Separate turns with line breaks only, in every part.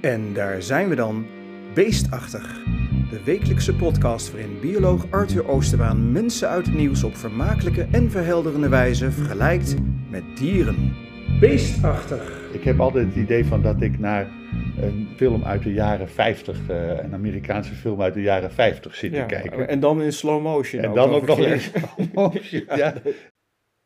En daar zijn we dan, Beestachtig. De wekelijkse podcast waarin bioloog Arthur Oosterbaan mensen uit het nieuws op vermakelijke en verhelderende wijze vergelijkt met dieren. Beestachtig.
Ik heb altijd het idee van dat ik naar een film uit de jaren 50, eh, een Amerikaanse film uit de jaren 50 zit te
oh,
kijken.
En dan in slow motion.
nou,
En dan
nog
ook nog
een keer.
eens. ja.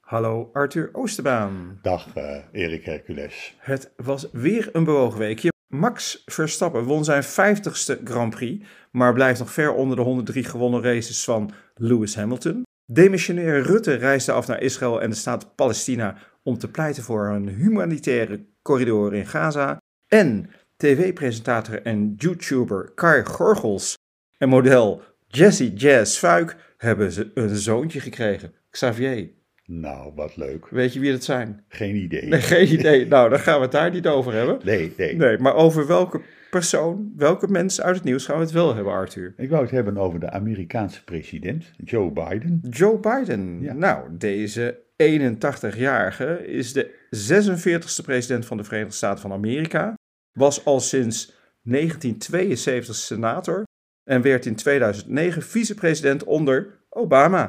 Hallo Arthur Oosterbaan.
Dag eh, Erik Hercules.
Het was weer een bewoogweekje. Max Verstappen won zijn 50ste Grand Prix, maar blijft nog ver onder de 103 gewonnen races van Lewis Hamilton. Demissionair Rutte reisde af naar Israël en de staat Palestina om te pleiten voor een humanitaire corridor in Gaza. En tv-presentator en YouTuber Kai Gorgels en model Jesse Jazz Fuik hebben ze een zoontje gekregen. Xavier,
Nou, wat leuk.
weet je wie dat zijn?
Geen idee.
Nee, geen idee. Nou, dan gaan we het daar niet over hebben.
Nee, nee.
Nee, maar over welke persoon, welke mensen uit het nieuws gaan we het wel hebben, Arthur?
Ik wou het hebben over de Amerikaanse president, Joe Biden.
Joe Biden.
Ja.
Nou, deze 81-jarige is de 46e president van de Verenigde Staten van Amerika. Was al sinds 1972 senator en werd in 2009 vicepresident onder Obama.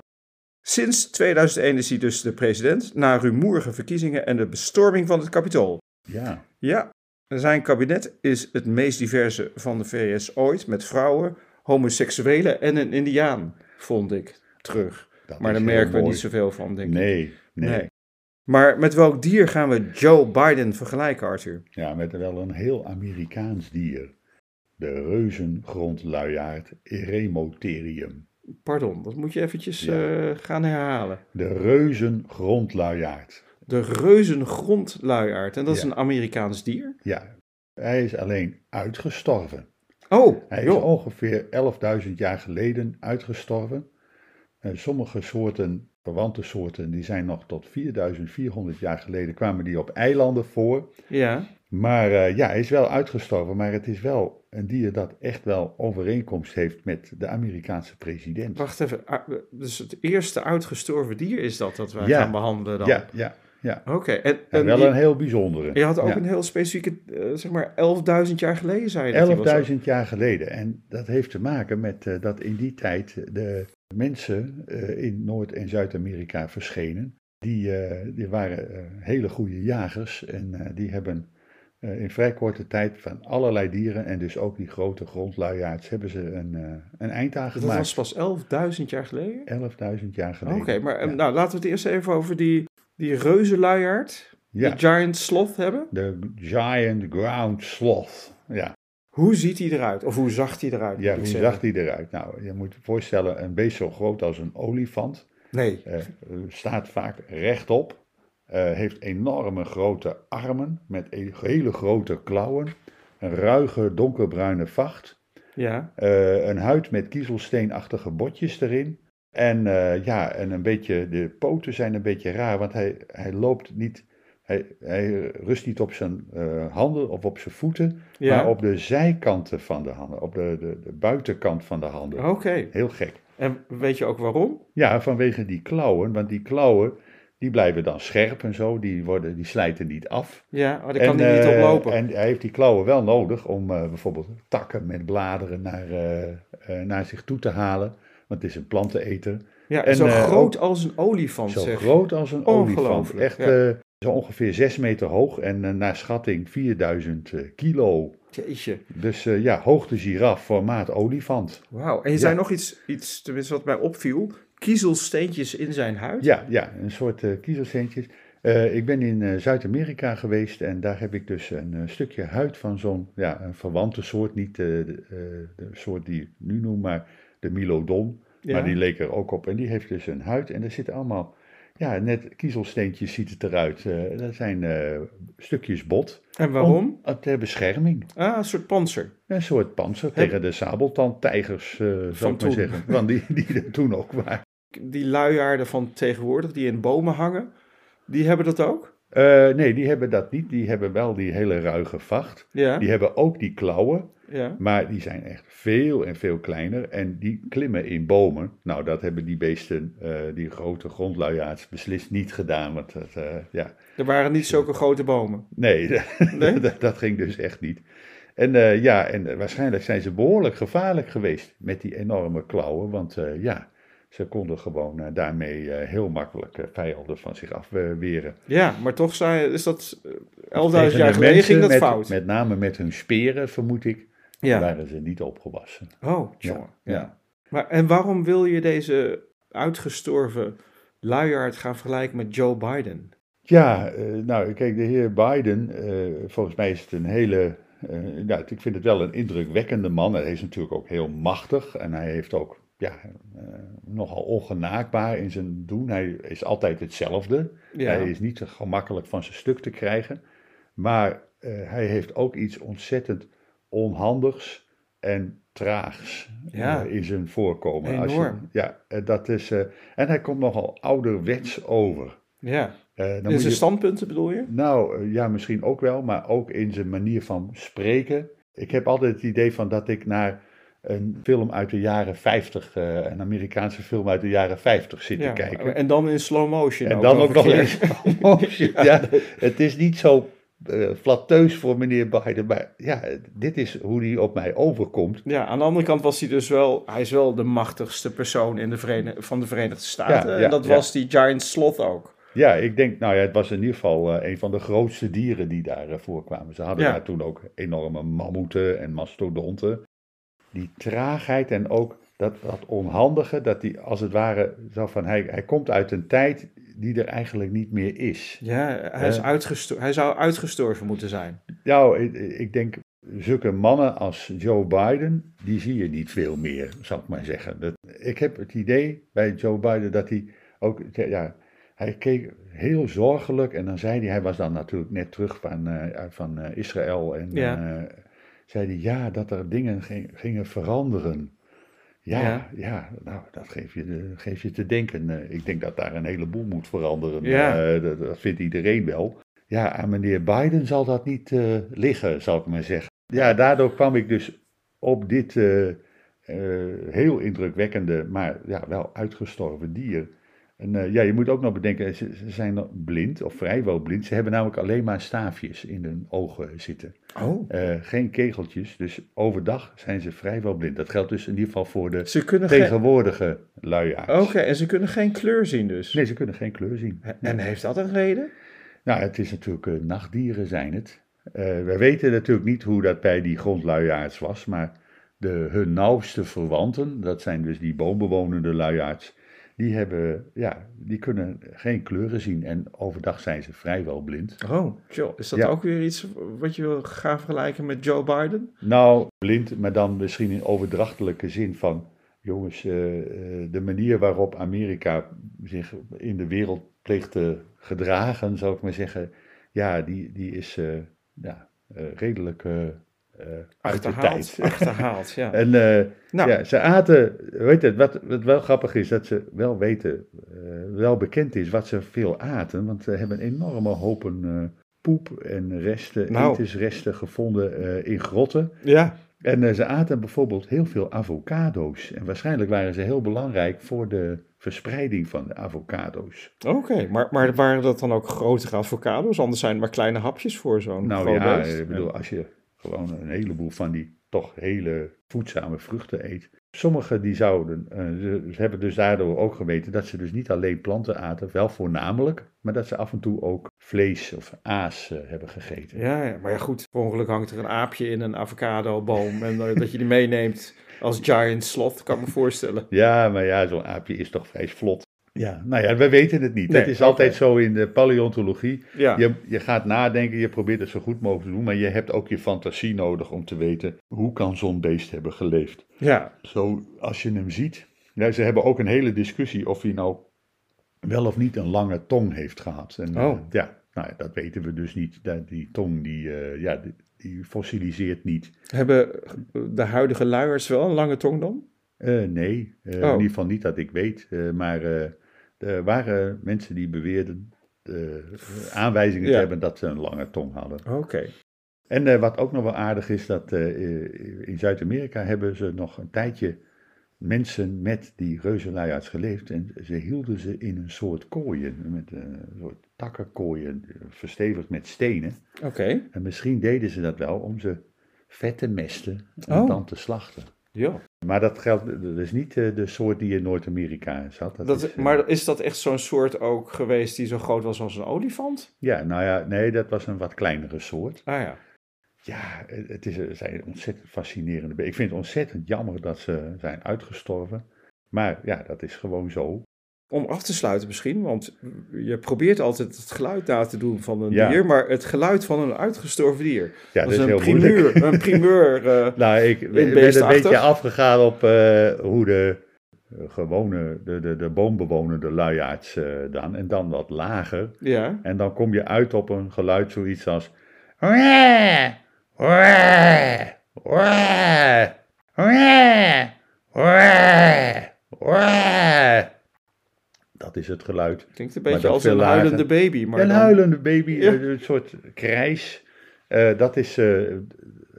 Sinds 2001 is hij dus de president na rumoerige verkiezingen en de bestorming van het kapitool.
Ja,
Ja, zijn kabinet is het meest diverse van de VS ooit, met vrouwen, homoseksuelen en een indiaan, vond ik terug.
dat
Maar
is
daar
heel
merken we
mooi.
niet zoveel van, denk ik.
Nee, nee,
Nee. Maar met welk dier gaan we Joe Biden vergelijken, Arthur?
Ja, met wel een heel Amerikaans dier. De reuzengrondluiaard Eremotherium.
Pardon, dat moet je eventjes
Ja.
eh, gaan herhalen.
De reuzengrondluiaard.
De reuzengrondluiaard, en dat is
Ja.
een Amerikaans dier?
Ja, hij is alleen uitgestorven.
Oh,
Hij is
joh.
ongeveer 11.000 jaar geleden uitgestorven. Eh, sommige soorten, verwante soorten, die zijn nog tot 4.400 jaar geleden kwamen die op eilanden voor.
Ja,
Maar eh, ja, hij is wel uitgestorven, maar het is wel een dier dat echt wel overeenkomst heeft met de Amerikaanse president.
wacht even. Ah, Dus het eerste uitgestorven dier is dat dat wij
Ja.
gaan behandelen dan?
Ja, ja, ja.
Oké, en,
En
en
wel
die-
een heel bijzondere.
Je had ook
Ja.
een heel specifieke, eh, zeg maar 11.000 jaar geleden, zei je. dat die was, hè?
11.000 jaar geleden. En dat heeft te maken met eh, dat in die tijd de mensen eh, in Noord- en Zuid-Amerika verschenen. Die, eh, die waren eh, hele goede jagers en eh, die hebben eh, in vrij korte tijd van allerlei dieren en dus ook die grote grondluiaards hebben ze een, eh, een eind aan
Dat
gemaakt.
was pas 11.000 jaar geleden?
11.000 jaar
Oké,
geleden.
maar eh,
Ja.
nou, laten we het eerst even over die, die reuzenluiaard,
Ja,
die giant sloth hebben.
de giant ground sloth. Ja.
Hoe ziet hij eruit? Of hoe zag hij eruit?
Ja,
moet
hoe
ik zeggen.
zag die eruit? Nou, je moet je voorstellen, een beest zo groot als een olifant.
Nee,
Eh, staat vaak rechtop, eh heeft enorme grote armen met e- hele grote klauwen, een ruige donkerbruine vacht,
ja.
eh, een huid met kiezelsteenachtige botjes erin. En eh, ja, en een beetje, de poten zijn een beetje raar, want hij, hij loopt niet, hij, hij rust niet op zijn eh, handen of op zijn voeten, maar
ja.
op de zijkanten van de handen, op de, de, de buitenkant van de handen.
Oké,
Heel gek.
en weet je ook waarom?
Ja, vanwege die klauwen, want die klauwen die blijven dan scherp en zo, die, worden, die slijten niet af.
Ja, oh, daar
en,
kan hij niet
eh,
oplopen.
En hij heeft die klauwen wel nodig om eh, bijvoorbeeld takken met bladeren naar, eh, eh, naar zich toe te halen, want het is een planteneter.
ja,
en,
zo
eh,
groot als een olifant,
Zo
zeg.
groot als een olifant,
Ongelooflijk,
echt eh, zo ongeveer 6 meter hoog en eh, naar schatting 4000 eh, kilo.
Jeetje,
Dus eh, ja, hoogte giraf, formaat olifant.
wauw. En je
Ja.
zei nog iets, iets, tenminste wat mij opviel, kiezelsteentjes in zijn huid.
Ja, ja, een soort eh kiezelsteentjes. Eh, ik ben in eh, Zuid-Amerika geweest en daar heb ik dus een eh, stukje huid van zo'n ja, een verwante soort, niet eh, de, eh, de soort die ik nu noem, maar de Milodon.
Ja.
Maar die leek er ook op en die heeft dus een huid en daar zitten allemaal, ja, net kiezelsteentjes ziet het eruit. Eh, dat zijn eh, stukjes bot.
En waarom?
Om- eh, ter bescherming.
Ah, een soort panzer.
Een soort panzer tegen de sabeltandtijgers, eh zou ik maar
toen.
zeggen. Want die, die er toen ook waren.
die luiaarden van tegenwoordig die in bomen hangen, die hebben dat ook?
Eh, nee, die hebben dat niet. Die hebben wel die hele ruige vacht.
Ja,
Die hebben ook die klauwen,
ja.
maar die zijn echt veel en veel kleiner. En die klimmen in bomen. Nou, dat hebben die beesten, eh, die grote grondluiaards, beslist niet gedaan. Want dat, eh, ja,
Er waren niet zulke grote bomen.
nee,
Nee?
dat, dat ging dus echt niet. En eh, ja, en eh, waarschijnlijk zijn ze behoorlijk gevaarlijk geweest met die enorme klauwen. Want eh, ja, ze konden gewoon eh, daarmee eh, heel makkelijk eh, vijanden van zich afweren.
Ja, maar toch zei, is dat eh, 11.000
Tegen
jaar
de
geleden
mensen
ging dat
met,
fout.
Met name met hun speren, vermoed ik,
ja.
waren ze niet opgewassen.
Oh,
Ja,
jongen.
ja.
Maar, en waarom wil je deze uitgestorven luiaard gaan vergelijken met Joe Biden?
Ja, eh, nou kijk, de heer Biden, eh, volgens mij is het een hele, eh, nou, ik vind het wel een indrukwekkende man. Hij is natuurlijk ook heel machtig en hij heeft ook, ja, eh, nogal ongenaakbaar in zijn doen. Hij is altijd hetzelfde.
Ja,
Hij is niet gemakkelijk van zijn stuk te krijgen. Maar eh, hij heeft ook iets ontzettend onhandigs en traags
Ja.
eh, in zijn voorkomen. Als je-
Enorm.
ja, eh, dat is, eh, en hij komt nogal ouderwets over.
ja.
Eh, dan
En
moet
zijn
je-
standpunten bedoel je?
nou eh, ja, misschien ook wel, maar ook in zijn manier van spreken. Ik heb altijd het idee van dat ik naar een film uit de jaren 50, eh, een Amerikaanse film uit de jaren 50 zit
Ja,
te kijken.
En dan in slow motion.
en dan ook nog
een
eens.
keer.
motion. ja, het is niet zo eh flatteus voor meneer Biden, maar ja, dit is hoe hij op mij overkomt.
Ja, aan de andere kant was hij dus wel, hij is wel de machtigste persoon in de Verene- van de Verenigde Staten.
Ja, ja,
en dat
ja.
was die Giant Sloth ook.
Ja, ik denk, nou ja, het was in ieder geval eh, een van de grootste dieren die daar eh, voorkwamen. Ze hadden
Ja.
daar toen ook enorme mammoeten en mastodonten. Die traagheid en ook dat, dat onhandige, dat die als het ware, zo van, hij, hij komt uit een tijd die er eigenlijk niet meer is.
Ja, hij, is
Ja.
uitgesto- hij zou uitgestorven moeten zijn.
Nou, ik, ik denk, zulke mannen als Joe Biden, die zie je niet veel meer, zou ik maar zeggen. Dat, ik heb het idee bij Joe Biden dat hij ook, ja, hij keek heel zorgelijk en dan zei hij, hij was dan natuurlijk net terug van, eh, uit van eh, Israël en
Ja.
eh, zei hij, ja, dat er dingen ging- gingen veranderen. Ja,
Ja.
ja. nou, dat geeft je, de- geeft je te denken. Eh, ik denk dat daar een heleboel moet veranderen.
Ja.
Eh, dat, dat vindt iedereen wel. Ja, aan meneer Biden zal dat niet eh, liggen, zal ik maar zeggen. Ja, daardoor kwam ik dus op dit eh, eh, heel indrukwekkende, maar ja, wel uitgestorven dier. En eh, ja, je moet ook nog bedenken, ze, ze zijn nog blind, of vrijwel blind. Ze hebben namelijk alleen maar staafjes in hun ogen zitten.
Oh.
Eh, geen kegeltjes, dus overdag zijn ze vrijwel blind. Dat geldt dus in ieder geval voor de
Ze Oh, kunnen geen...
tegenwoordige luiaards.
Oké, en ze kunnen geen kleur zien dus.
Nee, ze kunnen geen kleur zien.
En heeft dat een reden?
Nou, het is natuurlijk eh, nachtdieren zijn het. Eh, we weten natuurlijk niet hoe dat bij die grondluiaards was, maar de, hun nauwste verwanten, dat zijn dus die boombewonende luiaards, die, hebben, ja, die kunnen geen kleuren zien en overdag zijn ze vrijwel blind.
Oh, Joe, is dat
Ja.
ook weer iets wat je wil gaan vergelijken met Joe Biden?
Nou, blind, maar dan misschien in overdrachtelijke zin van, jongens, eh, eh, de manier waarop Amerika zich in de wereld pleegt te gedragen, zou ik maar zeggen, ja, die, die is eh, ja, eh, redelijk eh, eh, uit de
Achterhaald.
tijd.
Achterhaald, ja.
En eh,
Nou,
ja, ze aten, weet je, wat, wat wel grappig is, dat ze wel weten, eh, wel bekend is wat ze veel aten, want ze hebben enorme hopen eh, poep en resten,
Nou.
etensresten gevonden eh, in grotten.
ja.
En eh, ze aten bijvoorbeeld heel veel avocado's. En waarschijnlijk waren ze heel belangrijk voor de verspreiding van de avocado's.
Oké, maar, maar waren dat dan ook grotere avocados? Anders zijn het maar kleine hapjes voor zo'n
Nou
groot
ja,
beest.
eh, ik bedoel, als je gewoon een heleboel van die toch hele voedzame vruchten eet. Sommige die zouden, eh, ze, ze hebben dus daardoor ook geweten dat ze dus niet alleen planten aten, wel voornamelijk, maar dat ze af en toe ook vlees of aas eh, hebben gegeten.
Ja, ja, maar ja, goed. Per ongeluk hangt er een aapje in een avocadoboom. En eh, dat je die meeneemt als giant sloth, kan ik me voorstellen.
Ja, maar ja, zo'n aapje is toch vrij vlot. Ja, nou ja, we weten het niet.
Nee,
het is
oké.
altijd zo in de paleontologie.
Ja,
Je, je gaat nadenken, je probeert het zo goed mogelijk te doen, maar je hebt ook je fantasie nodig om te weten hoe kan zo'n beest hebben geleefd.
ja.
Zo, als je hem ziet, nou, ze hebben ook een hele discussie of hij nou wel of niet een lange tong heeft gehad. En, eh,
Oh.
ja, nou, ja, dat weten we dus niet. Dat- Die tong, die, eh, ja, die, die fossiliseert niet.
Hebben de huidige luiers wel een lange tong dan?
Eh, nee, eh,
Oh.
in ieder geval niet dat ik weet. eh, maar eh, er waren mensen die beweerden eh, aanwijzingen
Ja.
te hebben dat ze een lange tong hadden.
Oké.
En eh, wat ook nog wel aardig is, dat eh, eh, in Zuid-Amerika hebben ze nog een tijdje mensen met die reuzenluiaards geleefd. En ze hielden ze in een soort kooien, met eh, een soort takkenkooien, eh, verstevigd met stenen.
Oké.
En misschien deden ze dat wel om ze vet te mesten en
Oh.
dan te slachten.
Ja.
Maar dat geldt, dat is niet eh, de soort die in Noord-Amerika zat. Dat
Dat,
is, eh,
maar is dat echt zo'n soort ook geweest die zo groot was als een olifant?
Ja, nou ja, nee, dat was een wat kleinere soort.
Ah ja.
Ja, het het is, het zijn ontzettend fascinerende. be- Ik vind het ontzettend jammer dat ze zijn uitgestorven. Maar ja, dat is gewoon zo.
Om af te sluiten misschien, want je probeert altijd het geluid na te doen van een
Ja.
dier, maar het geluid van een uitgestorven dier.
Ja,
dat
dat,
is een
heel
primeur.
moeilijk.
Een primeur. eh,
Nou, ik ben een
beestachtig.
beetje afgegaan op eh, hoe de eh, gewone, de, de, de boombewonende luiaards eh, dan, en dan wat lager.
ja.
En dan kom je uit op een geluid zoiets als... "Wah, wah, wah, wah, wah, wah." Dat is het geluid.
Klinkt een
Maar
beetje
dat
als een
veel
huilende
lager.
baby. Maar
een
dan-
huilende baby,
Ja.
eh, een soort krijs. Eh, dat is eh,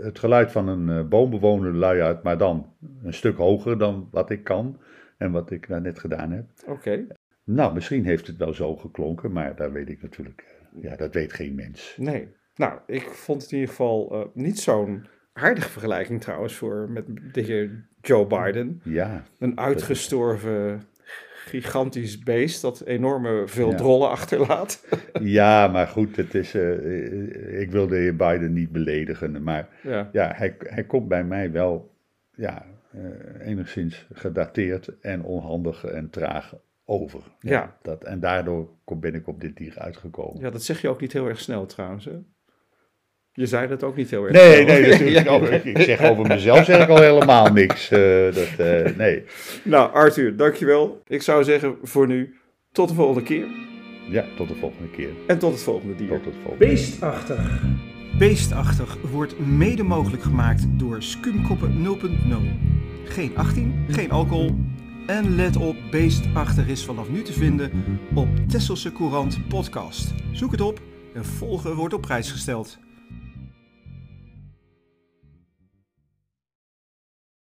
het geluid van een eh, boombewoner luiaard, maar dan een stuk hoger dan wat ik kan en wat ik daar net gedaan heb.
Oké.
Nou, misschien heeft het wel zo geklonken, maar daar weet ik natuurlijk... eh, Ja, dat weet geen mens.
Nee. Nou, ik vond het in ieder geval eh, niet zo'n aardige vergelijking trouwens voor met de heer Joe Biden.
Ja,
Een uitgestorven gigantisch beest dat enorme veel
Ja.
drollen achterlaat.
ja maar goed, het is, eh, eh, ik wil de heer Biden niet beledigen, maar
ja.
ja, hij, hij komt bij mij wel ja, eh, enigszins gedateerd en onhandig en traag over.
Ja.
Dat, en daardoor kom- ben ik op dit dier uitgekomen.
ja, dat zeg je ook niet heel erg snel trouwens. Hè? Je zei dat ook niet heel erg
Nee,
snel.
nee, natuurlijk.
Ja.
niet. ik, ik zeg over mezelf zeg ik al helemaal niks. eh, dat, eh, nee,
Nou, Arthur, dankjewel. Ik zou zeggen voor nu, tot de volgende keer
ja, tot de volgende keer.
en tot het volgende dier.
Tot het volgende
Beestachtig. Beestachtig wordt mede mogelijk gemaakt door Skumkoppen 0.0. Geen 18, geen alcohol. En let op, Beestachtig is vanaf nu te vinden op Tesselse Courant Podcast. Zoek het op en volgen wordt op prijs gesteld.